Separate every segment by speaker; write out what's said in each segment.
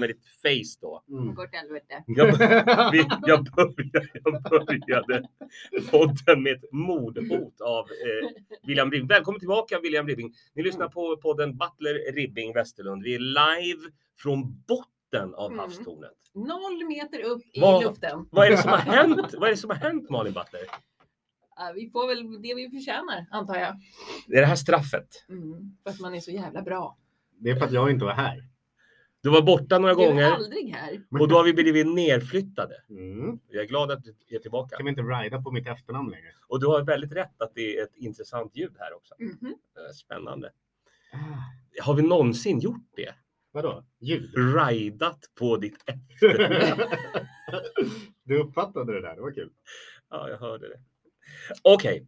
Speaker 1: med ditt face då.
Speaker 2: Mm.
Speaker 3: Går åt helvete.
Speaker 1: Jag, vi- jag, började, jag började podden med ett mordhot av eh, William Ribbing. Välkommen tillbaka William Ribbing. Ni lyssnar på podden Butler Ribbing Westerlund. Vi är live från botten av
Speaker 3: Mm.
Speaker 1: havstornet.
Speaker 3: Noll meter upp i
Speaker 1: Vad-
Speaker 3: luften.
Speaker 1: Vad är det som har hänt? Vad är det som har hänt Malin Butler?
Speaker 3: Ja, vi får väl det vi förtjänar, antar jag.
Speaker 1: Är det här straffet?
Speaker 3: Mm, för att man är så jävla bra.
Speaker 2: Det är för att jag inte var här.
Speaker 1: Du var borta några
Speaker 3: Du är
Speaker 1: gånger
Speaker 3: aldrig här.
Speaker 1: och då har vi blivit nerflyttade.
Speaker 2: Mm.
Speaker 1: Jag är glad att du är tillbaka.
Speaker 2: Kan vi inte rida på mitt efternamn längre?
Speaker 1: Och du har väldigt rätt att det är ett intressant ljud här också.
Speaker 3: Mhm.
Speaker 1: Eh, Spännande.
Speaker 2: Ah,
Speaker 1: Har vi någonsin gjort det?
Speaker 2: vadå? Ljud?
Speaker 1: Rajdat på ditt
Speaker 2: du uppfattade det där, det var kul.
Speaker 1: Ja, jag hörde det. Okej.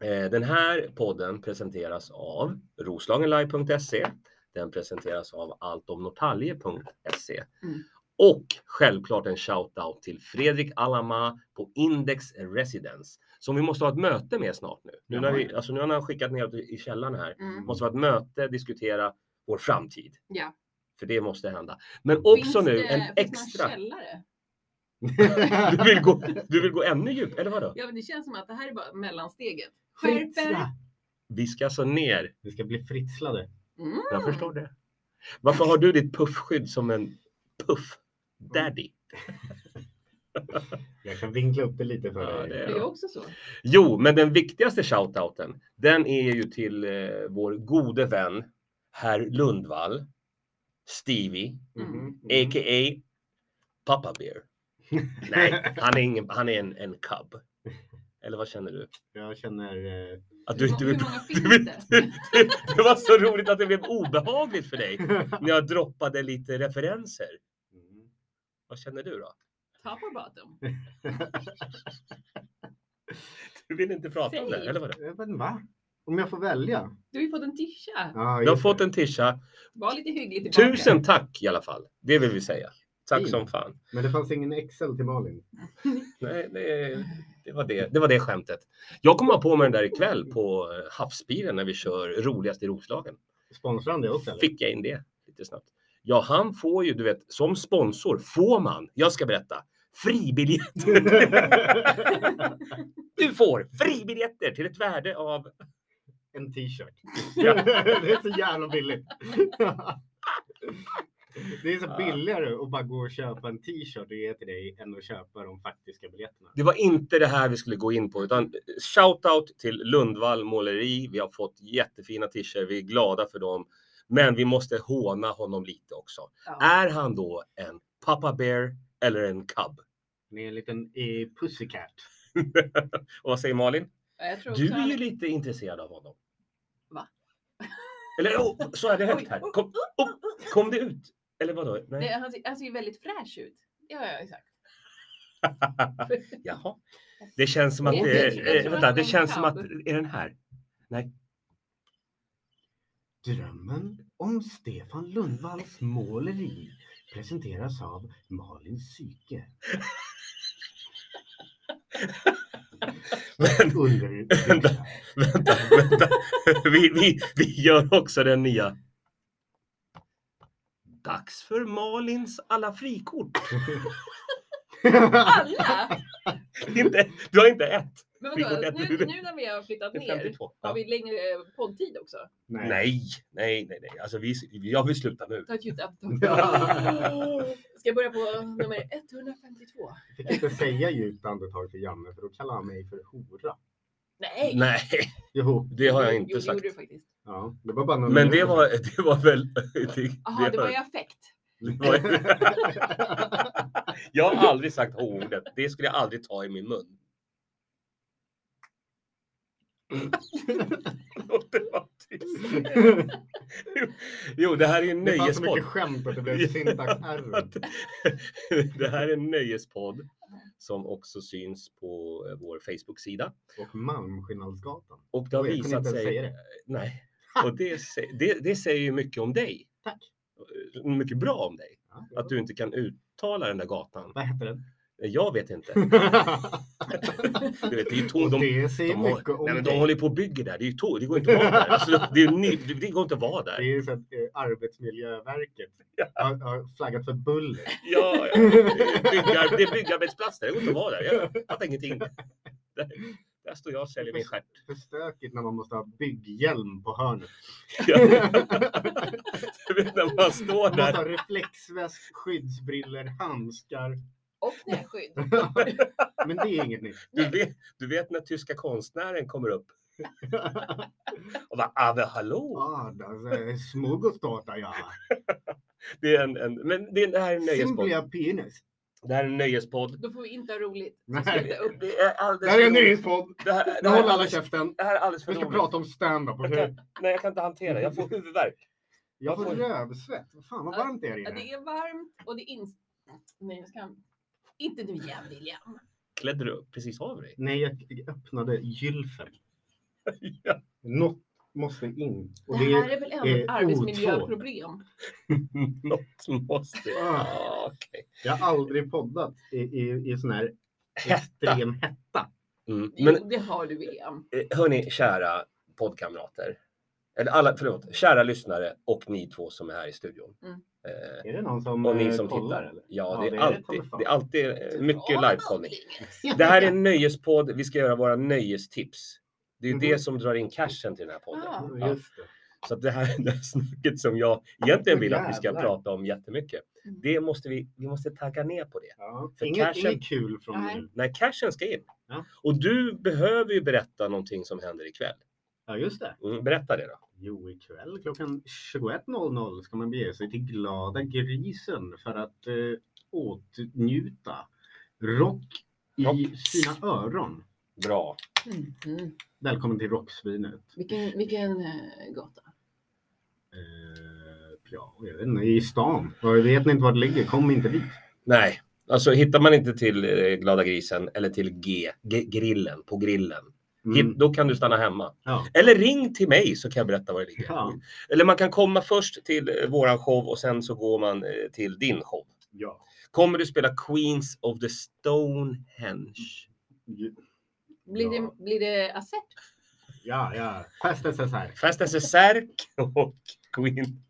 Speaker 1: Eh, Den här podden presenteras av roslagenlive.se. Den presenteras av alltomnortalje.se.
Speaker 3: Mm.
Speaker 1: Och självklart en shoutout till Fredrik Alama på Index Residence som vi måste ha ett möte med snart nu. Nu, när vi, alltså nu har han skickat ner i källaren här.
Speaker 3: Mm.
Speaker 1: Måste ha ett möte, diskutera vår framtid.
Speaker 3: Ja.
Speaker 1: För det måste hända. Men också
Speaker 3: Finns
Speaker 1: nu
Speaker 3: det-
Speaker 1: en
Speaker 3: finns det någon
Speaker 1: extra.
Speaker 3: källare?
Speaker 1: Du vill, gå, du vill gå ännu djupare, eller vadå?
Speaker 3: Ja, men det känns som att det här är bara mellansteget. Skärp er!
Speaker 2: Fritzla!
Speaker 1: Vi ska alltså ner.
Speaker 2: Vi ska bli fritslade.
Speaker 3: Mm.
Speaker 1: Jag förstår det. Varför har du ditt puffskydd som en puff daddy?
Speaker 2: Jag kan vinkla upp det lite för
Speaker 1: Ja,
Speaker 2: dig.
Speaker 1: det
Speaker 3: Det är också så.
Speaker 1: Jo, men den viktigaste shoutouten, den är ju till eh, vår gode vän herr Lundvall, Stevie,
Speaker 2: Mhm, mhm.
Speaker 1: a.k.a. Papa Bear. Nej, han är, ingen, han är en, en cub. Eller vad känner du?
Speaker 2: Jag känner... eh,
Speaker 1: Att du inte
Speaker 3: Hur
Speaker 1: vill...
Speaker 3: många
Speaker 1: Du
Speaker 3: finns
Speaker 1: vill
Speaker 3: det?
Speaker 1: det var så roligt att det blev obehagligt för dig när jag droppade lite referenser.
Speaker 2: Mm.
Speaker 1: Vad känner du då?
Speaker 3: Ta på bottom.
Speaker 1: Du vill inte prata om det,
Speaker 3: Säg.
Speaker 1: eller vadå?
Speaker 2: Eh, Men va? Om jag får välja?
Speaker 3: Du har ju fått en tisha.
Speaker 2: Ja,
Speaker 1: Du har
Speaker 2: just
Speaker 1: fått
Speaker 2: det.
Speaker 1: en tisha.
Speaker 3: Var lite hygglig tillbaka.
Speaker 1: Tusen tack i alla fall. Det vill vi säga. Tack
Speaker 2: Fint.
Speaker 1: som fan.
Speaker 2: Men det fanns ingen Excel till Malin.
Speaker 1: Nej, det, det, var det. det var det skämtet. Jag kommer ha på mig den där ikväll på eh, havsbilen när vi kör roligast i Roslagen.
Speaker 2: Sponsrar han det också? eller?
Speaker 1: Fick jag in det lite snabbt. Ja, han får ju, du vet, som sponsor får man, jag ska berätta, fribiljetter. du får fribiljetter till ett värde av
Speaker 2: en t-shirt.
Speaker 1: Ja.
Speaker 2: det är så jävla billigt. det är så
Speaker 1: Ja.
Speaker 2: billigare att bara gå och köpa en t-shirt och ge till dig än att köpa de faktiska biljetterna.
Speaker 1: Det var inte det här vi skulle gå in på, utan shoutout till Lundvall Måleri. Vi har fått jättefina t-shirts, vi är glada för dem. Men vi måste håna honom lite också.
Speaker 3: Ja.
Speaker 1: Är han då en Papa Bear eller en Cub?
Speaker 2: Ni är en liten eh, pussycat.
Speaker 1: Och vad säger Malin?
Speaker 3: Ja, Jag tror
Speaker 1: Du
Speaker 3: också
Speaker 1: är ju
Speaker 3: han-
Speaker 1: lite intresserad av honom.
Speaker 3: Va?
Speaker 1: Eller oh, så är det högt här. Kom, oh, kom det ut? Eller vadå?
Speaker 3: Det,
Speaker 1: Nej.
Speaker 3: han, ser, han ser ju väldigt fräsch ut. Ja, ja exakt.
Speaker 1: Jaha. Det känns som att...
Speaker 3: Jag
Speaker 1: Det,
Speaker 3: tror- jag
Speaker 1: eh,
Speaker 3: tror
Speaker 1: vänta,
Speaker 3: att
Speaker 1: det
Speaker 3: en
Speaker 1: känns som
Speaker 3: cub-
Speaker 1: att... Är den här?
Speaker 2: Drömmen om Stefan Lundvalls måleri presenteras av Malin Syke. Under...
Speaker 1: Vänta, vänta. Vi, vi, vi gör också den nya. Dags för Malins alla frikort.
Speaker 3: Alla!
Speaker 1: Inte, du har inte ett.
Speaker 3: Men
Speaker 1: Vi går
Speaker 3: vadå, nu,
Speaker 1: till-
Speaker 3: nu när vi har flyttat
Speaker 1: Det är
Speaker 3: ner,
Speaker 1: 52.
Speaker 3: har
Speaker 1: Ja.
Speaker 3: vi längre eh, poddtid också?
Speaker 2: Nej.
Speaker 1: Nej, nej, nej, nej. Alltså vi, jag vill sluta nu.
Speaker 3: Ta ett djupt andetag.
Speaker 2: Ja.
Speaker 3: Ska jag börja på nummer 152?
Speaker 2: Jag fick inte säga djupt andetag till Janne för då kallar han mig för hora.
Speaker 3: Nej!
Speaker 1: Nej,
Speaker 2: Jo,
Speaker 1: det har jag
Speaker 3: jo,
Speaker 1: inte
Speaker 3: det
Speaker 1: sagt.
Speaker 3: gjorde du faktiskt.
Speaker 2: ja, det var bara någon
Speaker 1: Men det var, det var väl... Det,
Speaker 3: Jaha, det var i
Speaker 1: jag.
Speaker 3: affekt.
Speaker 1: jag har aldrig sagt ordet. Det skulle jag aldrig ta i min mun. Låt det vara tyst. Jo, det här är en
Speaker 2: Det fanns så
Speaker 1: nöjespodd.
Speaker 2: mycket skämt att det blev syntaxerror.
Speaker 1: det här är en nöjespodd som också syns på eh, vår Facebook-sida.
Speaker 2: Och Malmskillnadsgatan.
Speaker 1: Och det har
Speaker 2: Oj, jag kunde
Speaker 1: visat
Speaker 2: inte ens
Speaker 1: sig...
Speaker 2: säga det.
Speaker 1: Nej. Och det, sä- det, det säger ju mycket om dig. Eh,
Speaker 2: Tack.
Speaker 1: Mycket bra om dig.
Speaker 2: Ja, det var-
Speaker 1: Att du inte kan uttala den där gatan.
Speaker 2: Vad hette den?
Speaker 1: Jag vet inte. Du vet, det är ju
Speaker 2: Och
Speaker 1: tomt. De,
Speaker 2: det säger
Speaker 1: de,
Speaker 2: mycket
Speaker 1: har,
Speaker 2: om
Speaker 1: nej, men de
Speaker 2: dig.
Speaker 1: håller på och bygger där. Det är ju tomt. Det går inte att vara där. Alltså, det, är ju ny, det, det går inte att vara
Speaker 2: Det är
Speaker 1: där.
Speaker 2: ju så att eh, Arbetsmiljöverket har, har flaggat för buller.
Speaker 1: Ja, ja. Det är byggar- Det är byggarbetsplats där. Det går inte att vara där. Jag fattar ingenting. Där, där står jag och säljer min stjärt.
Speaker 2: För stökigt när man måste ha bygghjälm på hörnet.
Speaker 1: Ja.
Speaker 2: man
Speaker 1: Du vet när man står
Speaker 2: måste
Speaker 1: där.
Speaker 2: ha reflexväst, skyddsbriller, handskar.
Speaker 3: Och nässkydd.
Speaker 2: Men det är inget nytt.
Speaker 1: Du vet, du vet när tyska konstnären kommer upp och bara ”Aber hallå!”
Speaker 2: Ah, das är smörgåstårta, ja.
Speaker 1: Det är en, en, men det, är- det här är en nöjespodd.
Speaker 2: Simplia penis.
Speaker 1: Det här är en nöjespodd.
Speaker 3: Då får vi inte ha roligt. Så
Speaker 2: Nej.
Speaker 3: ska vi ta upp.
Speaker 1: Det är
Speaker 2: Det
Speaker 1: alldeles
Speaker 2: här är en
Speaker 1: för roligt.
Speaker 2: nyhetspodd.
Speaker 1: Det här,
Speaker 2: Nu
Speaker 1: det här är
Speaker 2: håller alla
Speaker 1: alldeles,
Speaker 2: käften.
Speaker 1: det här är alldeles för
Speaker 2: Vi ska
Speaker 1: roligt.
Speaker 2: prata om stand-up.
Speaker 1: Jag kan, nej, jag kan inte hantera det. Jag får huvudvärk.
Speaker 2: Jag får
Speaker 1: Oj.
Speaker 2: rövsvett. Fan vad varmt det är
Speaker 3: Ja,
Speaker 2: inne.
Speaker 3: det är varmt och det är in... Nej, jag ska... Inte nu igen William.
Speaker 1: Klädde du precis av dig?
Speaker 2: Nej, jag öppnade gylfen.
Speaker 1: Ja.
Speaker 2: Något måste in.
Speaker 3: Det
Speaker 2: Och det
Speaker 3: här
Speaker 2: är...
Speaker 3: är väl ändå ett
Speaker 2: eh,
Speaker 3: arbetsmiljöproblem?
Speaker 1: Något måste... Ah, okej.
Speaker 2: Jag har aldrig poddat i, i, i sån här extrem hetta.
Speaker 1: mm. Men
Speaker 3: Jo, det har du William.
Speaker 1: Eh, Hörni, kära poddkamrater. Eller alla, förlåt, kära lyssnare och ni två som är här i studion.
Speaker 3: Mm.
Speaker 1: Eh,
Speaker 2: Är det någon som
Speaker 1: och ni
Speaker 2: eh,
Speaker 1: som
Speaker 2: kollar?
Speaker 1: tittar.
Speaker 2: Eller?
Speaker 1: Ja,
Speaker 2: Ja,
Speaker 1: det,
Speaker 2: det
Speaker 1: är
Speaker 2: är det, ta
Speaker 1: alltid,
Speaker 2: mig fan.
Speaker 1: det är alltid eh, mycket
Speaker 3: Typ. Ja,
Speaker 1: livekollning.
Speaker 3: William.
Speaker 1: Det här är en nöjespodd. Vi ska göra våra nöjestips. Det är ju
Speaker 2: Mhm.
Speaker 1: det som drar in cashen till den här podden.
Speaker 3: Ah.
Speaker 2: Ja,
Speaker 1: Ja.
Speaker 2: Just det.
Speaker 1: Så att det här det här snacket som jag egentligen vill att vi ska
Speaker 2: Jävlar.
Speaker 1: prata om jättemycket.
Speaker 3: Mm.
Speaker 1: Det måste vi, vi måste tagga ner på det.
Speaker 2: Ja.
Speaker 1: För
Speaker 2: Inget,
Speaker 1: cashen-
Speaker 2: inget kul från
Speaker 3: Nej.
Speaker 2: nu.
Speaker 1: När cashen ska in.
Speaker 2: Ja.
Speaker 1: Och du behöver ju berätta någonting som händer ikväll.
Speaker 2: Ja, just det.
Speaker 1: Mm, berätta det då.
Speaker 2: Jo, ikväll klockan 21.00 ska man bege sig till Glada Grisen för att eh, åtnjuta rock i
Speaker 1: Rock.
Speaker 2: sina öron.
Speaker 1: Bra.
Speaker 3: Mm, mm.
Speaker 2: Välkommen till Rocksvinet.
Speaker 3: Vilken, vilken eh, gata?
Speaker 2: Eh, ja, jag vet inte, i stan. Jag vet ni inte var det ligger? Kom inte dit.
Speaker 1: Nej, alltså hittar man inte till eh, Glada grisen eller till G, G grillen, på grillen, hit,
Speaker 2: Mm.
Speaker 1: då kan du stanna hemma.
Speaker 2: Ja.
Speaker 1: Eller ring till mig så kan jag berätta var det ligger.
Speaker 2: Ja.
Speaker 1: Eller man kan komma först till eh, våran show och sen så går man eh, till din show.
Speaker 2: ja.
Speaker 1: Kommer du spela Queens of the Stonehenge?
Speaker 2: Ju-
Speaker 3: Blir,
Speaker 2: Ja.
Speaker 3: det, blir det accept?
Speaker 2: Ja, ja. Fästelse så här.
Speaker 1: Fast as a Särk och Queen.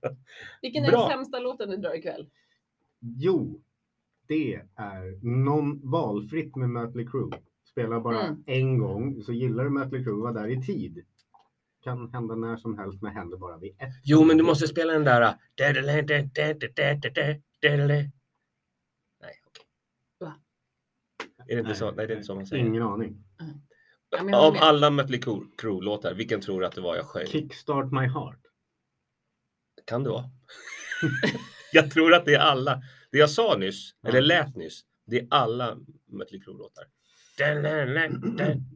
Speaker 3: Vilken är
Speaker 1: Bra.
Speaker 3: den sämsta låten du drar ikväll?
Speaker 2: Jo, det är någon valfritt med Mötley Crüe. Spela bara
Speaker 3: Mm.
Speaker 2: en gång, så gillar du Mötley Crüe, var där i tid. Kan hända när som helst, men händer bara vid ett.
Speaker 1: Jo, men du måste spela den där. eh, dadele, dadele, dadele, dadele. Nej, okej.
Speaker 3: Va?
Speaker 1: Är det inte så? Nej, det är inte så man säger.
Speaker 2: Ingen aning.
Speaker 3: Jag menar
Speaker 1: Av
Speaker 3: med.
Speaker 1: alla Mötley Crüe- Crüe-låtar, vilken tror du att det var jag sjöng?
Speaker 2: Kickstart my heart.
Speaker 1: Kan det vara? jag tror att det är alla. Det jag sa nyss,
Speaker 2: Ja.
Speaker 1: eller lät nyss, det är alla Mötley Crüe-låtar.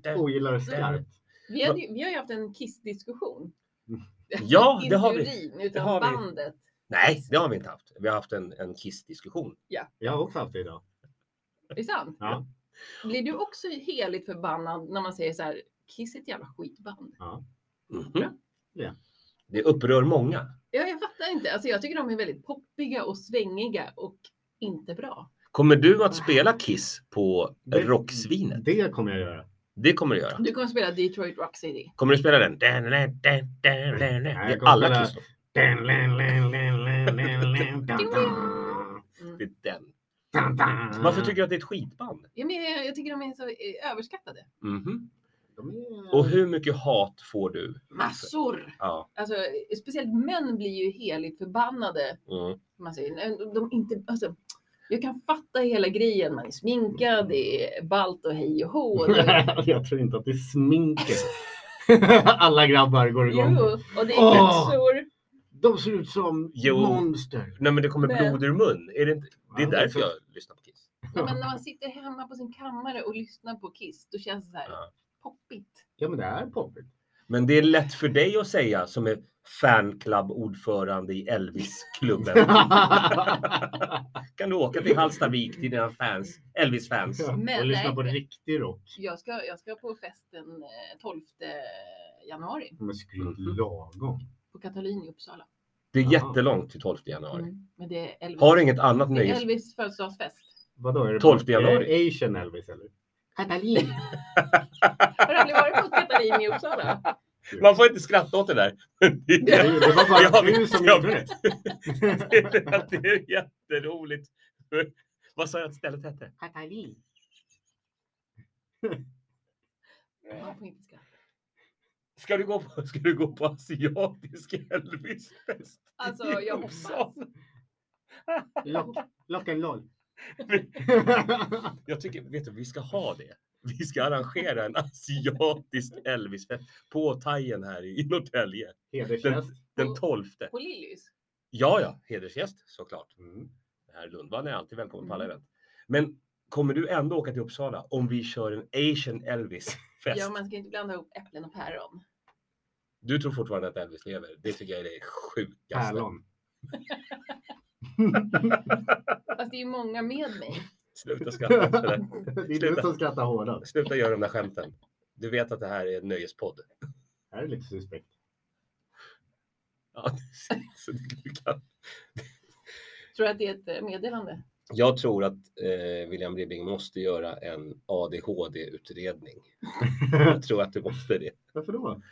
Speaker 1: Äh.
Speaker 2: Ogillar det skarpt.
Speaker 3: Vi, hade, ju- vi har ju haft en kissdiskussion.
Speaker 1: Mm. Ja, det
Speaker 3: Inte
Speaker 1: har vi.
Speaker 3: urin,
Speaker 1: Det
Speaker 3: utan
Speaker 1: har vi.
Speaker 3: bandet.
Speaker 1: Nej, det har vi inte haft. Vi har haft en, en Kiss-diskussion.
Speaker 2: Jag har också haft det idag.
Speaker 3: Är det sant?
Speaker 2: Ja.
Speaker 3: Blir du också heligt förbannad när man säger så här, Kiss är ett jävla skitband?
Speaker 1: Mhm.
Speaker 2: Ja.
Speaker 1: Det upprör många.
Speaker 3: Ja, jag fattar inte. Alltså, jag tycker de är väldigt poppiga och svängiga och inte bra.
Speaker 1: Kommer du att spela Kiss på
Speaker 2: Det-
Speaker 1: Rocksvinet?
Speaker 2: Det kommer jag göra.
Speaker 1: Det kommer du göra.
Speaker 3: Du kommer spela Detroit Rock City.
Speaker 1: Kommer du spela den? Det
Speaker 2: Nej, jag
Speaker 1: är
Speaker 2: kommer
Speaker 1: alla
Speaker 2: spela-
Speaker 1: Kiss.
Speaker 2: Dun, lin, lin, lin, lin, lin, lin, dun, dun,
Speaker 3: Mm.
Speaker 1: Det är den.
Speaker 2: Mm. dun, dun.
Speaker 1: Varför tycker du att det är ett skitband?
Speaker 3: Ja, men jag, jag tycker de är så eh, överskattade.
Speaker 1: Mhm.
Speaker 2: De är-
Speaker 3: Mm.
Speaker 1: Och hur mycket hat får du?
Speaker 3: Massor!
Speaker 1: Ja.
Speaker 3: Alltså, eh, speciellt män blir ju heligt förbannade.
Speaker 1: Mm.
Speaker 3: som Man säger. Nej, de- De inte, alltså, jag kan fatta hela grejen. Man är sminkad, det är balt och hej och hå. Och det,
Speaker 2: jag tror inte att det är sminket. Alla grabbar går igång.
Speaker 3: jo, och det är
Speaker 2: Åh!
Speaker 3: yxor.
Speaker 2: De ser ut som
Speaker 1: Jo.
Speaker 2: monster.
Speaker 1: Nej, men det kommer
Speaker 3: Men-
Speaker 1: blod ur mun. Är det, inte... det är
Speaker 2: Ja,
Speaker 1: därför jag lyssnar på Kiss.
Speaker 3: Nej, men när man sitter hemma på sin kammare och lyssnar på Kiss, då känns det så här
Speaker 1: Ja.
Speaker 3: poppigt.
Speaker 2: Ja, men det är poppigt.
Speaker 1: Men det är lätt för dig att säga som är fanclub-ordförande i Elvis-klubben. kan du åka till Hallstavik till dina fans, Elvis-fans?
Speaker 2: och
Speaker 3: Men
Speaker 2: lyssna på
Speaker 3: nej.
Speaker 2: riktig rock.
Speaker 3: Jag ska, jag ska på festen eh, 12 januari
Speaker 2: De är skrivit
Speaker 1: Mm.
Speaker 2: lagom.
Speaker 3: på Katalin i Uppsala.
Speaker 1: Det är
Speaker 2: Jaha.
Speaker 1: jättelångt till 12 januari.
Speaker 3: Mm. Men det är Elvis,
Speaker 1: Har du inget annat
Speaker 3: det är
Speaker 1: nöjes...
Speaker 3: Elvis födelsedagsfest.
Speaker 2: Vadå? Är det
Speaker 1: 12
Speaker 2: bara-
Speaker 1: januari.
Speaker 2: Är det Asian Elvis eller? Katalin.
Speaker 3: Har du aldrig varit på ett Katalin i Uppsala?
Speaker 1: Man får inte skratta åt det där.
Speaker 2: Det det var bara
Speaker 1: Jag
Speaker 2: du
Speaker 1: vet,
Speaker 2: som
Speaker 1: jag
Speaker 2: gjorde det.
Speaker 1: det är jätteroligt. Vad sa jag att stället hette?
Speaker 2: Katalin.
Speaker 3: Man får inte skratta.
Speaker 1: Ska du gå på, ska du gå på asiatisk Elvisfest?
Speaker 3: Alltså,
Speaker 1: i
Speaker 3: jag
Speaker 1: Uppsala?
Speaker 3: hoppas.
Speaker 2: Lock, lock and roll.
Speaker 1: Jag tycker, vet du, vi ska ha det. Vi ska arrangera en asiatisk Elvisfest på Thaien här i Norrtälje
Speaker 2: Hedersgäst.
Speaker 1: den 12.
Speaker 3: På Lillys?
Speaker 1: Ja, ja, hedersgäst såklart.
Speaker 2: Mm.
Speaker 1: Herr Lundvall är alltid välkommen på alla
Speaker 3: Mm.
Speaker 1: event. Men kommer du ändå åka till Uppsala om vi kör en Asian Elvis-fest?
Speaker 3: Ja, man ska inte blanda ihop äpplen och päron.
Speaker 1: Du tror fortfarande att Elvis lever. Det tycker jag är det sjukaste.
Speaker 2: Pärlon.
Speaker 3: Fast det är ju många med mig.
Speaker 1: Sluta skratta. åt det där.
Speaker 2: Det är du
Speaker 1: Sluta.
Speaker 2: som skrattar hårdast.
Speaker 1: Sluta göra de där skämten. Du vet att det här är en nöjespodd.
Speaker 2: Det här är lite suspekt.
Speaker 1: Ja, så du kan-
Speaker 3: Tror du att det är ett eh, meddelande?
Speaker 1: Jag tror att eh, William Ribbing måste göra en ADHD-utredning. Jag tror att du måste det.
Speaker 2: Varför då?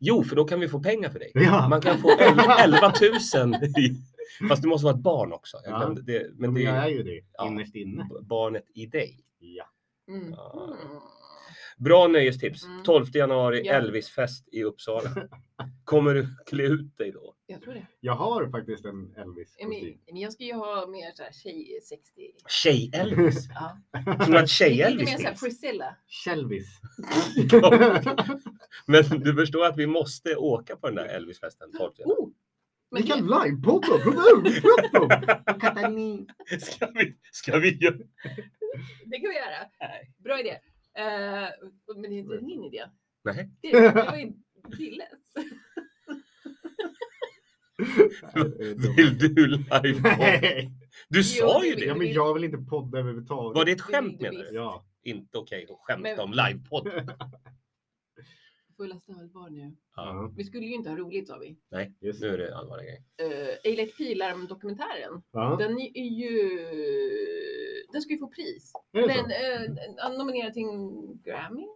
Speaker 1: Jo, för då kan vi få pengar för dig.
Speaker 2: Ja.
Speaker 1: Man kan få el- 11 000. i- Fast du måste vara ett barn också. Jag
Speaker 2: Ja.
Speaker 1: glömde det, men
Speaker 2: Men
Speaker 1: det
Speaker 2: jag
Speaker 1: är
Speaker 2: är
Speaker 1: ju
Speaker 2: ju det
Speaker 1: Ja.
Speaker 2: innerst inne.
Speaker 1: barnet i dig.
Speaker 2: Ja.
Speaker 3: Mm.
Speaker 1: Ja.
Speaker 3: Mm.
Speaker 1: Bra nöjestips.
Speaker 3: Mm.
Speaker 1: 12 januari,
Speaker 3: Ja.
Speaker 1: Elvisfest i Uppsala. Kommer du klä ut dig då?
Speaker 3: Jag tror det.
Speaker 2: Jag har faktiskt en Elvis
Speaker 3: Ja,
Speaker 2: kostym.
Speaker 3: Men, men jag ska ju ha mer så här tjej 60.
Speaker 1: Tjej-Elvis?
Speaker 3: Ja.
Speaker 1: Tror du att
Speaker 3: Lite
Speaker 1: tjej-Elvis
Speaker 3: mer så här
Speaker 1: finns?
Speaker 3: Priscilla.
Speaker 2: Shelvis.
Speaker 1: Men du förstår att vi måste åka på den där Elvisfesten 12 januari.
Speaker 3: Oh! Men
Speaker 2: Vi kan
Speaker 3: det,
Speaker 2: livepodda! Katalin.
Speaker 1: Ska vi, ska vi göra?
Speaker 3: det kan vi göra.
Speaker 1: Nej.
Speaker 3: Bra idé. Eh, men det är inte
Speaker 2: Mm.
Speaker 3: min idé.
Speaker 1: Nej.
Speaker 3: Det, det var ju Dilles.
Speaker 1: Vill du live
Speaker 2: Nej.
Speaker 1: Du sa ju
Speaker 2: Ja,
Speaker 1: det!
Speaker 2: men jag vill inte podda överhuvudtaget.
Speaker 1: Var det ett skämt menar du?
Speaker 2: Ja.
Speaker 1: Inte okej att skämta
Speaker 3: Men-
Speaker 1: om livepodd.
Speaker 3: Fullaste allvar nu.
Speaker 1: Ja,
Speaker 2: ja.
Speaker 3: Vi skulle ju inte ha roligt sa vi.
Speaker 2: Just
Speaker 1: nu
Speaker 2: det.
Speaker 1: är det allvarliga grejer.
Speaker 3: Uh, Eilert Pilarm-dokumentären.
Speaker 2: Ja.
Speaker 3: Den är ju... Den ska ju få pris.
Speaker 2: Är det så?
Speaker 3: Den uh, nominerad till en Grammy eller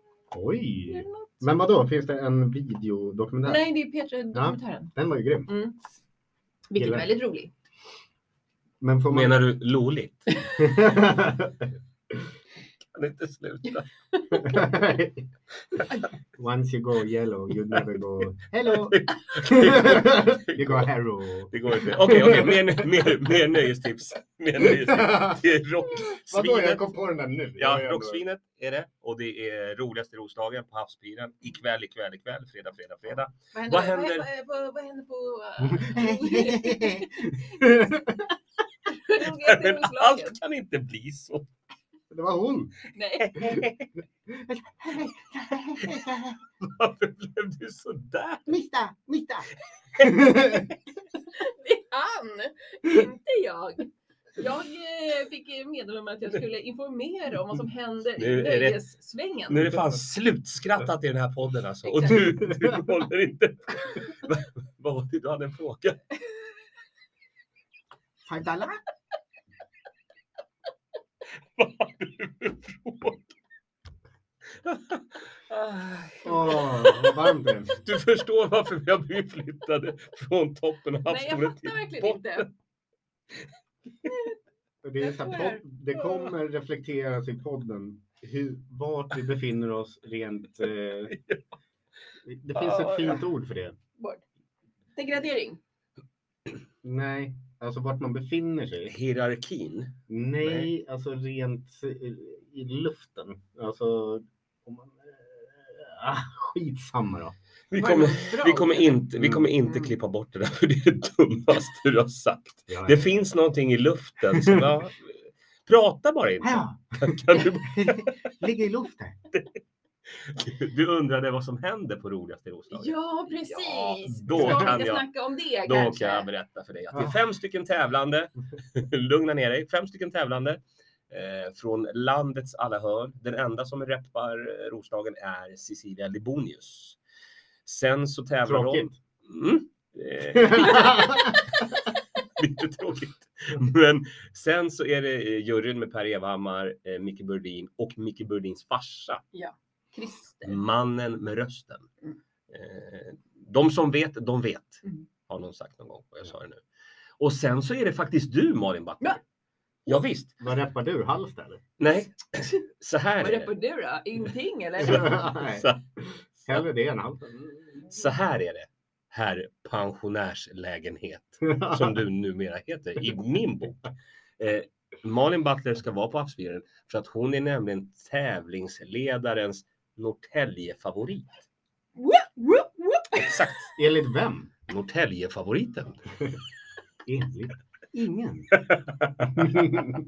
Speaker 2: Oj!
Speaker 3: något.
Speaker 2: Mm. Men vadå, finns det en videodokumentär?
Speaker 3: Nej, det är Petra-dokumentären.
Speaker 2: Den var ju grym.
Speaker 3: Mm. Vilket är
Speaker 2: Gillar.
Speaker 3: väldigt rolig.
Speaker 2: Men får man...
Speaker 1: Menar du loligt? Kan inte sluta.
Speaker 2: Once you go yellow, you never go hello. you go hero.
Speaker 1: Det går inte. Okej, okej, mer, mer, mer nöjestips. Mer nöjestips. Det är rocksvinet.
Speaker 2: på den där nu.
Speaker 1: Ja, rocksvinet är det. Och det är roligaste Roslagen på Havspiren. Ikväll, ikväll, ikväll. Fredag, fredag, fredag.
Speaker 3: Vad
Speaker 1: Vad
Speaker 3: händer,
Speaker 1: händer?
Speaker 3: vad, vad, vad händer på... äh,
Speaker 1: Men allt kan inte bli så.
Speaker 2: det var hon.
Speaker 3: Nej,
Speaker 1: Varför blev du sådär?
Speaker 2: Mista, mista.
Speaker 3: det är han! Inte jag. Jag eh, fick eh, meddelande om att jag skulle informera om vad som händer
Speaker 1: Nu
Speaker 3: i
Speaker 1: är det-
Speaker 3: nöjessvängen.
Speaker 1: Nu är det fan slutskrattat i den här podden alltså. Och du, du håller inte... Vad var det? Du hade en fråga.
Speaker 2: Five dollar?
Speaker 1: Vad hade du för fråga? Ah.
Speaker 2: Åh, vad varmt det är.
Speaker 1: Du förstår varför vi har blivit flyttade från toppen av
Speaker 3: Nej, jag
Speaker 1: havsbordet
Speaker 3: fattar verkligen
Speaker 1: botten.
Speaker 3: inte.
Speaker 2: Det, är så här, pop- det kommer reflekteras i podden hur, vart vi befinner oss rent... Eh, det finns ett fint ord för det.
Speaker 3: Bort. Degradering.
Speaker 2: Nej, alltså vart man befinner sig.
Speaker 1: Hierarkin.
Speaker 2: Nej,
Speaker 1: Nej.
Speaker 2: alltså rent i, i luften. Alltså... Om man, eh, ah, skitsamma då.
Speaker 1: Vi
Speaker 3: Vad
Speaker 1: kommer,
Speaker 3: bra.
Speaker 1: vi kommer inte, vi
Speaker 2: Mm.
Speaker 1: kommer inte
Speaker 3: Mm.
Speaker 1: klippa bort det där, för det är det dummaste du har sagt.
Speaker 2: Ja,
Speaker 1: Det
Speaker 2: ja.
Speaker 1: finns någonting i luften som jag... Prata bara inte.
Speaker 2: Ja,
Speaker 1: Kan du,
Speaker 2: ligger i luften.
Speaker 1: du undrade vad som händer på roligaste i Roslagen.
Speaker 3: Ja, precis.
Speaker 1: Ja, då kan
Speaker 3: Ska vi
Speaker 1: jag-
Speaker 3: inte snacka om det
Speaker 1: Då
Speaker 3: kanske?
Speaker 1: kan jag berätta för dig att det är
Speaker 2: Ah.
Speaker 1: fem stycken tävlande. Lugna ner dig. Fem stycken tävlande eh, från landets alla hörn. Den enda som reppar eh, Roslagen är Cecilia Libonius. Sen så tävlar
Speaker 2: Tråkigt.
Speaker 1: de... Mm, eh, lite tråkigt. Men sen så är det eh, juryn med Per Evhammar, eh, Micke Burdin och Micke Burdins farsa.
Speaker 3: Christer.
Speaker 1: Mannen med rösten.
Speaker 3: Mm.
Speaker 1: Eh, De som vet, de vet.
Speaker 3: Mm.
Speaker 1: Har någon sagt någon gång och jag sa det nu. Och sen så är det faktiskt du Malin Battner. Ja.
Speaker 3: Ja.
Speaker 1: visst.
Speaker 2: Vad rappar du? Halvt eller?
Speaker 1: Nej, så här
Speaker 3: Vad
Speaker 1: är det.
Speaker 3: repar du då? Ingenting eller?
Speaker 2: Nej,
Speaker 1: Så,
Speaker 2: Hellre det än halvt.
Speaker 1: så här är det. Herr pensionärslägenhet. som du numera heter i min bok. Eh, Malin Butler ska vara på havsbyrån för att hon är nämligen tävlingsledarens Norrtäljefavorit.
Speaker 3: Woop, woop, woop.
Speaker 1: Exakt,
Speaker 2: Enligt vem?
Speaker 1: Norrtäljefavoriten.
Speaker 2: Enligt ingen.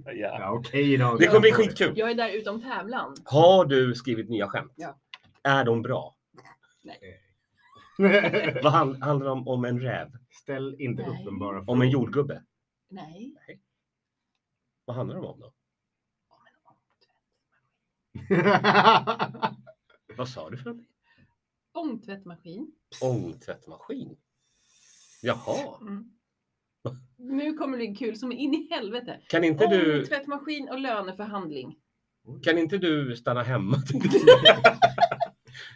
Speaker 1: Ja.
Speaker 2: ja, okej då.
Speaker 1: Det kommer bli skitkul.
Speaker 3: Jag är där utom tävlan.
Speaker 1: Har du skrivit nya skämt?
Speaker 3: Ja.
Speaker 1: Är de bra? Vad hand- handlar de om? Om en räv?
Speaker 2: Ställ inte
Speaker 3: Nej.
Speaker 2: uppenbara frågor.
Speaker 1: Om en jordgubbe?
Speaker 3: Nej.
Speaker 1: Vad handlar de om då? Vad sa du för någonting?
Speaker 3: Ångtvättmaskin.
Speaker 1: Ångtvättmaskin? Jaha.
Speaker 3: Nu kommer det bli kul som in i helvete.
Speaker 1: Kan inte du,
Speaker 3: Ångtvättmaskin och löneförhandling.
Speaker 1: kan inte du stanna hemma?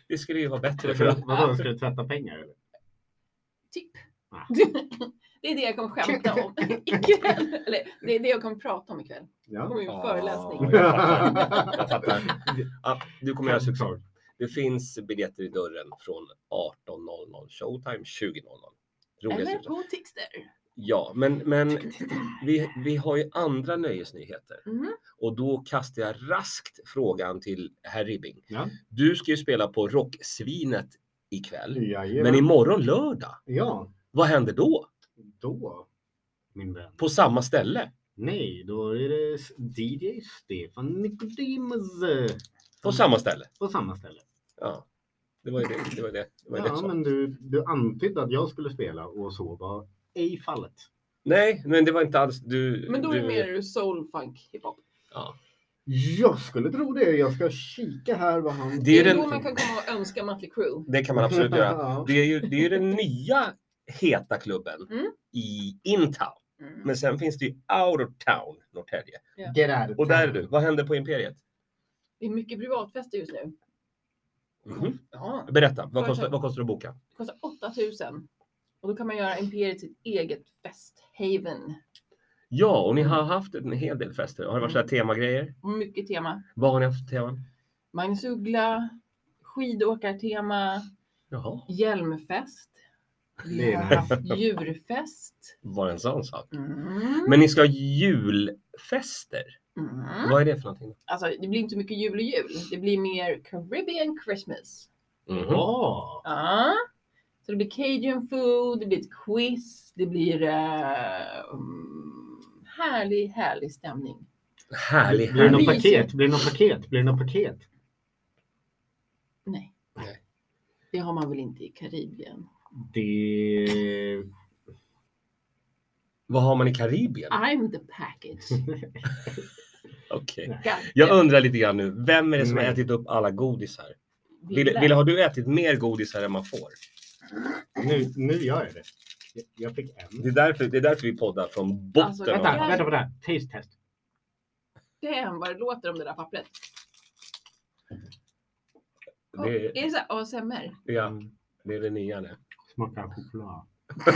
Speaker 1: Det skulle ju vara bättre för
Speaker 2: Vadå, ska du tvätta pengar eller?
Speaker 3: Typ.
Speaker 2: Ah.
Speaker 3: Det är det jag kommer skämta om ikväll. Eller det är det jag kommer prata om ikväll. Det
Speaker 2: Ja.
Speaker 3: kommer ju en föreläsning.
Speaker 1: Ja, jag fattar. Jag fattar. Ja, du kommer göra succé. Det finns biljetter i dörren från 18.00 showtime 20.00. Roligt. Mm.
Speaker 3: Eller på Tixter.
Speaker 1: Ja, men, men vi, vi har ju andra nöjesnyheter
Speaker 3: Mhm.
Speaker 1: och då kastar jag raskt frågan till herr Ribbing.
Speaker 2: Ja.
Speaker 1: Du ska ju spela på Rocksvinet ikväll, men
Speaker 2: Jajamän.
Speaker 1: imorgon lördag,
Speaker 2: Ja,
Speaker 1: vad händer då?
Speaker 2: då min vän.
Speaker 1: På samma ställe?
Speaker 2: Nej, då är det DJ Stefan Nicodemus eh,
Speaker 1: På samma ställe?
Speaker 2: på samma ställe.
Speaker 1: Ja, det var ju det. det, var ju det. det, var ju det jag
Speaker 2: Ja,
Speaker 1: sa.
Speaker 2: men du, du antydde att jag skulle spela och så var ej fallet.
Speaker 1: Nej, men det var inte alls du.
Speaker 3: Men då är
Speaker 1: du,
Speaker 3: det mer soul, funk, hiphop.
Speaker 1: Ja.
Speaker 2: Jag skulle tro det. Jag ska kika här vad han...
Speaker 1: Det är
Speaker 3: det är
Speaker 1: den-
Speaker 3: då man kan komma och önska Mötley Crüe.
Speaker 1: Det kan man absolut göra.
Speaker 2: Ja.
Speaker 1: Det är ju, det är ju den nya heta klubben
Speaker 3: Mm.
Speaker 1: i intown.
Speaker 3: Mm.
Speaker 1: Men sen finns det ju out of town, Norrtälje.
Speaker 2: Get out of
Speaker 1: Och där är
Speaker 2: town.
Speaker 1: du. Vad händer på Imperiet?
Speaker 3: Det är mycket privatfester just nu. Mm.
Speaker 1: Mhm.
Speaker 3: Ja.
Speaker 1: Berätta, vad
Speaker 3: Företag.
Speaker 1: kostar, vad kostar det att boka?
Speaker 3: Det kostar 8000. Och då kan man göra Imperiet sitt eget festhaven.
Speaker 1: Ja, och ni har haft en hel del fester. Har det varit så här temagrejer?
Speaker 3: Mycket tema.
Speaker 1: Vad har ni haft för teman?
Speaker 3: Magnus Uggla, skidåkartema,
Speaker 1: Jaha,
Speaker 3: hjälmfest. Vi
Speaker 2: Det är
Speaker 3: har
Speaker 2: nice.
Speaker 3: haft djurfest.
Speaker 1: var det en sån sak?
Speaker 3: Mm.
Speaker 1: Men ni ska ha julfester.
Speaker 3: Mm.
Speaker 1: Vad är det för någonting?
Speaker 3: Alltså, det blir inte mycket jul och jul. Det blir mer Caribbean Christmas.
Speaker 1: Mhm.
Speaker 2: Ja.
Speaker 3: Ja. Så det blir Cajun food, det blir ett quiz, det blir eh, mm, härlig, härlig stämning.
Speaker 1: Härlig,
Speaker 2: Blir det något
Speaker 1: härlig.
Speaker 3: Mysigt.
Speaker 2: paket? Blir det något paket? Blir det något paket?
Speaker 3: Nej.
Speaker 1: Nej.
Speaker 3: Det har man väl inte i Karibien?
Speaker 2: Det...
Speaker 1: Vad har man i Karibien?
Speaker 3: I'm the package.
Speaker 1: Okej.
Speaker 3: God
Speaker 1: Jag undrar lite grann nu, vem är det som har
Speaker 2: Nej.
Speaker 1: ätit upp alla godisar?
Speaker 3: damn.
Speaker 1: Ville, Ville, har du ätit mer godisar än man får?
Speaker 2: Nu, nu gör jag det. Jag, jag fick
Speaker 1: Det
Speaker 2: en.
Speaker 1: är därför, det är därför vi poddar från botten.
Speaker 3: Alltså,
Speaker 1: av-
Speaker 2: Vänta, vänta på det här. Taste test.
Speaker 3: Damn vad det låter om det där pappret. Och,
Speaker 1: det,
Speaker 3: Är det så här ASMR?
Speaker 1: ja, det är det nya nu.
Speaker 2: Smakar choklad.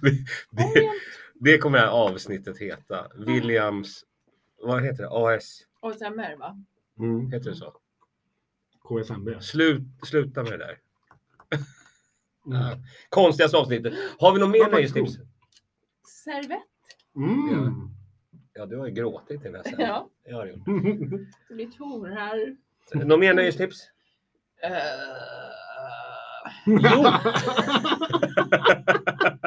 Speaker 1: det, det,
Speaker 3: William.
Speaker 1: det kommer det här avsnittet heta. Williams, vad heter det? AS,
Speaker 3: ASMR va?
Speaker 2: Mm.
Speaker 1: heter det så?
Speaker 2: KSMB.
Speaker 1: Slut, sluta med det där. Ah, Äh,
Speaker 2: Mm.
Speaker 1: Konstigaste avsnittet. Har vi något mer
Speaker 2: Vad var
Speaker 1: nöjestips?
Speaker 3: Servett?
Speaker 2: Mm.
Speaker 1: Ja, du har ju gråtit i den här sändningen.
Speaker 3: Ja.
Speaker 1: Det har du gjort.
Speaker 3: Det blir tårar.
Speaker 1: Något mer nöjestips?
Speaker 3: Eh,
Speaker 1: Jo!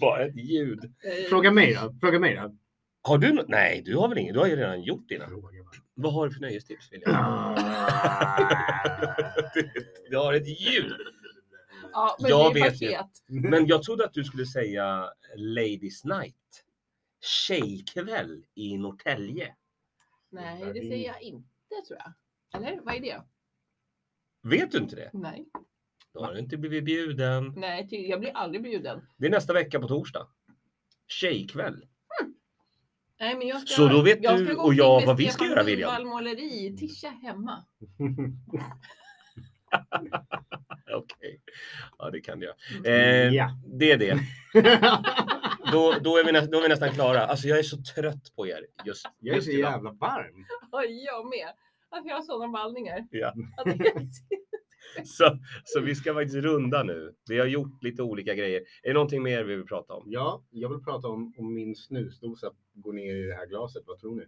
Speaker 1: Bara ett ljud.
Speaker 3: eh,
Speaker 2: Fråga mig då. Fråga mig då.
Speaker 1: Har du nå- Nej, du har väl inget? Du har ju redan gjort dina.
Speaker 2: Fråga mig.
Speaker 1: Vad har du för nöjestips William? Du har ett ljud.
Speaker 3: Ja, men
Speaker 1: Jag
Speaker 3: det är
Speaker 1: vet ju.
Speaker 3: paket.
Speaker 1: Men jag trodde att du skulle säga Ladies Night. Tjejkväll i Norrtälje.
Speaker 3: Nej, det säger jag inte tror jag. Eller vad är det?
Speaker 1: Vet du inte det?
Speaker 3: Nej.
Speaker 1: Då har du inte blivit bjuden.
Speaker 3: Nej, ty- jag blir aldrig bjuden.
Speaker 1: Det är nästa vecka på torsdag. Tjejkväll.
Speaker 3: Nej, men jag ska,
Speaker 1: Så då vet
Speaker 3: jag
Speaker 1: du
Speaker 3: ska gå
Speaker 1: och jag
Speaker 3: omkring med
Speaker 1: vad vi ska
Speaker 3: Stefan
Speaker 1: göra, William.
Speaker 3: Lundvall måleri i Tisha hemma.
Speaker 1: Okej. Ja, det kan jag.
Speaker 2: Ja.
Speaker 1: Eh, Det är det. Då, då, är vi nä- då är vi nästan klara. Alltså jag är så trött på er just,
Speaker 2: jag är så
Speaker 1: just idag.
Speaker 2: jävla varm.
Speaker 3: Ja, jag med. Att jag har sådana vallningar.
Speaker 1: Ja.
Speaker 3: Att jag-
Speaker 1: Så, så vi ska faktiskt runda nu. Vi har gjort lite olika grejer. Är det någonting mer vi vill prata om?
Speaker 2: Ja, jag vill prata om om min snusdosa går ner i det här glaset. Vad tror ni?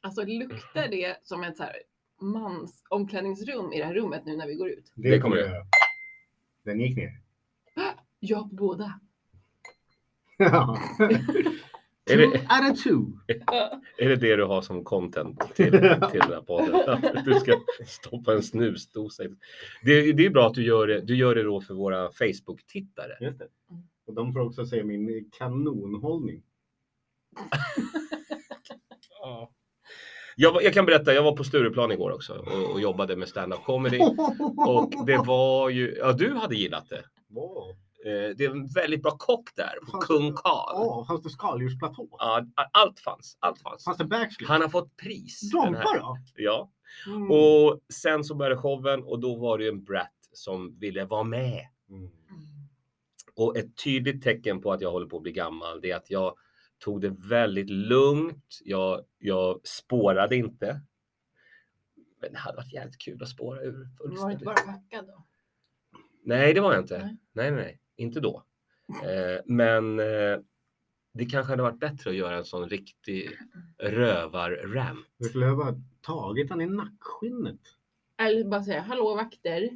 Speaker 3: Alltså luktar det som ett så här mans omklädningsrum i det här rummet nu när vi går ut?
Speaker 1: Det kommer
Speaker 2: jag göra. Den gick ner.
Speaker 3: Ja, på båda.
Speaker 2: Ja.
Speaker 1: Är
Speaker 2: Two
Speaker 1: det-
Speaker 2: out of two.
Speaker 1: Är det det du har som content till, till den här podden? Att Du ska stoppa en snusdosa. i- Det, det är bra att du gör det. Du gör det då för våra Facebook-tittare.
Speaker 2: Just det. Och de får också se min kanonhållning.
Speaker 1: Jag, var- jag kan berätta, jag var på Stureplan igår också och, och jobbade med stand-up comedy. Och det var ju, ja du hade gillat det.
Speaker 2: Wow.
Speaker 1: Eh, Det är en väldigt bra kock där, på
Speaker 2: Fanns det-
Speaker 1: Kung Karl.
Speaker 2: Ja, fanns det skaldjursplatå?
Speaker 1: Ja, allt fanns, allt fanns.
Speaker 2: Fanns det backslip?
Speaker 1: Han har fått pris. den här-
Speaker 2: Drompa då?
Speaker 1: Ja.
Speaker 3: Mm.
Speaker 1: Och sen så började showen och då var det ju en brat som ville vara med.
Speaker 2: Mm.
Speaker 3: Mm.
Speaker 1: Och ett tydligt tecken på att jag håller på att bli gammal det är att jag tog det väldigt lugnt. Jag, jag spårade inte. Men det hade varit jävligt kul att spåra ur
Speaker 3: Du var
Speaker 1: fullständigt.
Speaker 3: inte bara packad då?
Speaker 1: Nej, det var jag inte.
Speaker 3: Nej.
Speaker 1: Nej, nej, nej. inte då. Eh, men eh, det kanske hade varit bättre att göra en sån riktig rövar-ram.
Speaker 2: Du skulle ha bara tagit han i nackskinnet.
Speaker 3: Eller bara säga hallå vakter.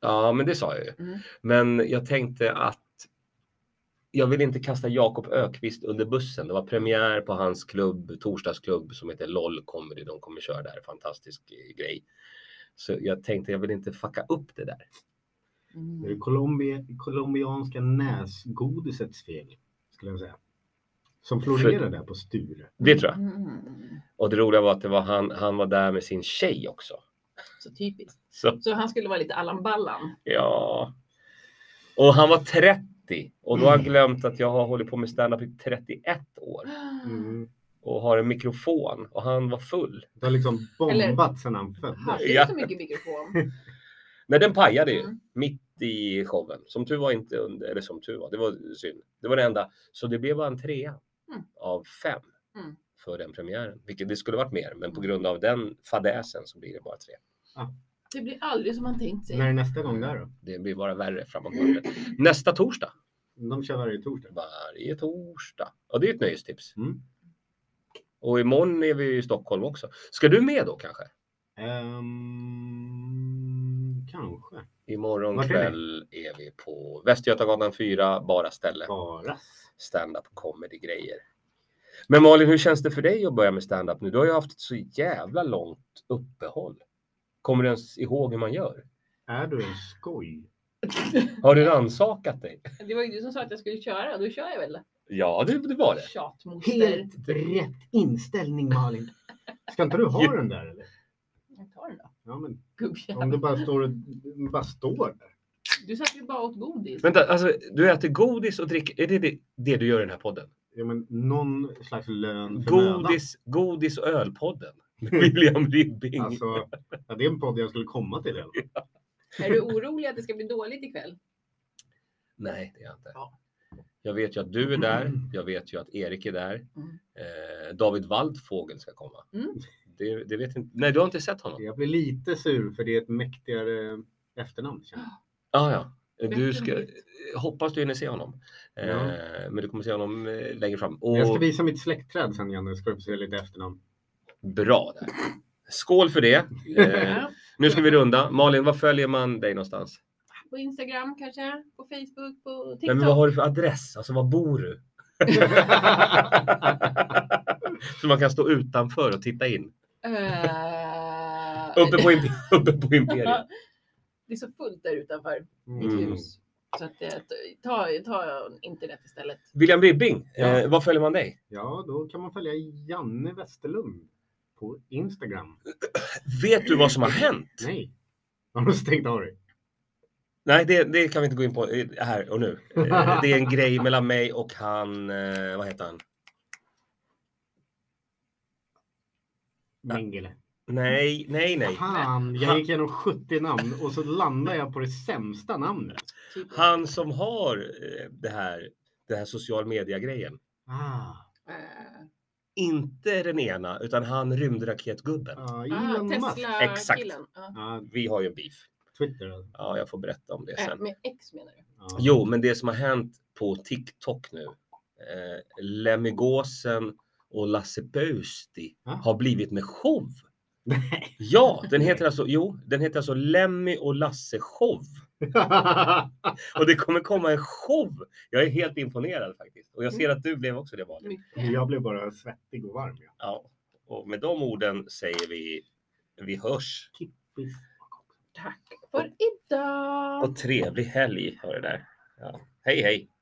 Speaker 1: Ja, men det sa jag ju.
Speaker 3: Mm.
Speaker 1: Men jag tänkte att jag vill inte kasta Jakob Ökvist under bussen. Det var premiär på hans klubb, torsdagsklubb som heter LOL Comedy. De kommer köra där, fantastisk eh, grej. Så jag tänkte jag vill inte fucka upp det där.
Speaker 3: Mm.
Speaker 2: Det är Colombia, colombianska näsgodisets fel, skulle jag säga. Som florerar där på Sture.
Speaker 1: Det tror jag.
Speaker 3: Mm.
Speaker 1: Och det roliga var att det var han, han var där med sin tjej också.
Speaker 3: Så typiskt.
Speaker 1: Så
Speaker 3: Så han skulle vara lite Allan Ballan.
Speaker 1: Ja. Och han var 30 och då har jag glömt att jag har hållit på med standup i 31 år
Speaker 2: Mm.
Speaker 1: och har en mikrofon och han var full.
Speaker 2: Det har liksom
Speaker 3: Eller-
Speaker 2: bombat sedan han föddes.
Speaker 3: Hade
Speaker 1: Ja.
Speaker 3: du så mycket mikrofon?
Speaker 1: Nej, den pajade ju
Speaker 3: Mm.
Speaker 1: mitt i showen. Som tur var inte under, eller som tur var, det var synd. Det var det enda. Så det blev bara en trea
Speaker 3: Mm.
Speaker 1: av fem
Speaker 3: Mm.
Speaker 1: för den premiären, vilket det skulle varit mer. Men på grund av den fadäsen så blir det bara tre.
Speaker 3: Det blir aldrig som man tänkt sig.
Speaker 2: När är nästa gång där då?
Speaker 1: Det blir bara värre framåt. Nästa torsdag.
Speaker 2: De kör varje torsdag.
Speaker 1: varje torsdag. Ja, det är ett nöjestips.
Speaker 2: Mm.
Speaker 1: Och imorgon är vi i Stockholm också. Ska du med då kanske?
Speaker 2: Ehm, kanske.
Speaker 1: Imorgon
Speaker 2: Vart är
Speaker 1: kväll är vi på Västgötagatan 4, bara ställe.
Speaker 2: Bara.
Speaker 1: Stand-up comedy grejer. Men Malin, hur känns det för dig att börja med stand-up nu? Du har ju haft ett så jävla långt uppehåll. Kommer du ens ihåg hur man gör?
Speaker 2: Är du en skoj?
Speaker 1: Har du rannsakat dig?
Speaker 3: Det var ju du som sa att jag skulle köra och då kör jag väl.
Speaker 1: Ja, det, det var det.
Speaker 3: Tjatmoster.
Speaker 2: Helt rätt inställning Malin. Ska inte du ha den där eller?
Speaker 3: Jag tar den då.
Speaker 2: Ja, men om
Speaker 3: Gubbjävel.
Speaker 2: du bara står, och- bara står där.
Speaker 3: Du satt ju bara åt godis.
Speaker 1: Vänta, alltså, du äter godis och dricker. Är det det, det du gör i den här podden?
Speaker 2: Ja, men någon slags
Speaker 1: Mm.
Speaker 2: lön för mödan.
Speaker 1: Godis, godis och ölpodden. William Ribbing.
Speaker 2: Alltså, ja, det är en podd jag skulle komma till. i alla fall.
Speaker 3: Är du orolig att det ska bli dåligt ikväll?
Speaker 1: Nej, det är jag inte.
Speaker 3: Ja.
Speaker 1: Jag vet ju att du är där. Jag vet ju att Erik är där.
Speaker 3: Mm.
Speaker 1: Eh, David Waldfågel ska komma.
Speaker 3: Mm.
Speaker 1: Det, det vet inte. Nej, du har inte sett honom?
Speaker 2: Jag blir lite sur för det är ett mäktigare efternamn. känner jag.
Speaker 1: Ah, ja. Du
Speaker 3: Bättre
Speaker 1: ska, eh,
Speaker 3: än mitt.
Speaker 1: hoppas du hinner se honom. Eh,
Speaker 2: Ja.
Speaker 1: Men du kommer se honom eh, längre fram. Och
Speaker 2: Jag ska visa mitt släktträd sen Janne, ska du få se lite efternamn.
Speaker 1: Bra där. Skål för det. Eh,
Speaker 3: Ja.
Speaker 1: nu ska vi runda. Malin, var följer man dig någonstans?
Speaker 3: På Instagram kanske? På Facebook? På TikTok?
Speaker 1: Nej, men vad har du för adress? Alltså, var bor du? Så man kan stå utanför och titta in.
Speaker 3: Eh,
Speaker 1: Uppe på, imp- uppe på Imperiet.
Speaker 3: Det är så fullt där utanför mitt
Speaker 1: Mm.
Speaker 3: hus. Så att, eh, ta, ta internet istället.
Speaker 1: William Ribbing,
Speaker 2: Ja.
Speaker 1: eh, var följer man dig?
Speaker 2: Ja, då kan man följa Janne Westerlund på Instagram.
Speaker 1: Vet du vad som har hänt?
Speaker 2: Nej, har du stängt av dig?
Speaker 1: Nej, det, det kan vi inte gå in på eh, här och nu. Eh, Det är en grej mellan mig och han, eh, vad heter han?
Speaker 2: Mengele.
Speaker 1: Nej, nej, nej.
Speaker 2: Fan, jag gick igenom 70 namn och så landade jag på det sämsta namnet.
Speaker 3: Typ.
Speaker 1: Han som har eh, det här, det här social media-grejen.
Speaker 2: Ah,
Speaker 3: Eh,
Speaker 1: Inte den ena, utan han rymdraketgubben.
Speaker 2: ah,
Speaker 3: ah,
Speaker 2: Elon Musk.
Speaker 3: Tesla-killen.
Speaker 1: Exakt.
Speaker 3: Ja.
Speaker 2: Ah,
Speaker 1: Vi har ju en beef.
Speaker 2: Twitter.
Speaker 1: Ja, jag får berätta om det
Speaker 3: Eh,
Speaker 1: sen.
Speaker 3: Med X menar du?
Speaker 2: Ah.
Speaker 1: Jo, men det som har hänt på TikTok nu. Eh, Lemmigåsen och Lasse Pöysti
Speaker 2: Ah.
Speaker 1: har blivit med show.
Speaker 2: Nej.
Speaker 1: Ja, den heter alltså, jo, den heter alltså Lemmy och Lasse show. Och det kommer komma en show. Jag är helt imponerad faktiskt. Och jag ser att du blev också det valet.
Speaker 2: Mm.
Speaker 3: Mycket.
Speaker 2: jag blev bara svettig och varm. Ja.
Speaker 1: Ja, och med de orden säger vi vi hörs.
Speaker 2: Kippis.
Speaker 3: Tack för idag.
Speaker 1: Och trevlig helg. Hör det där. Ja. Hej hej!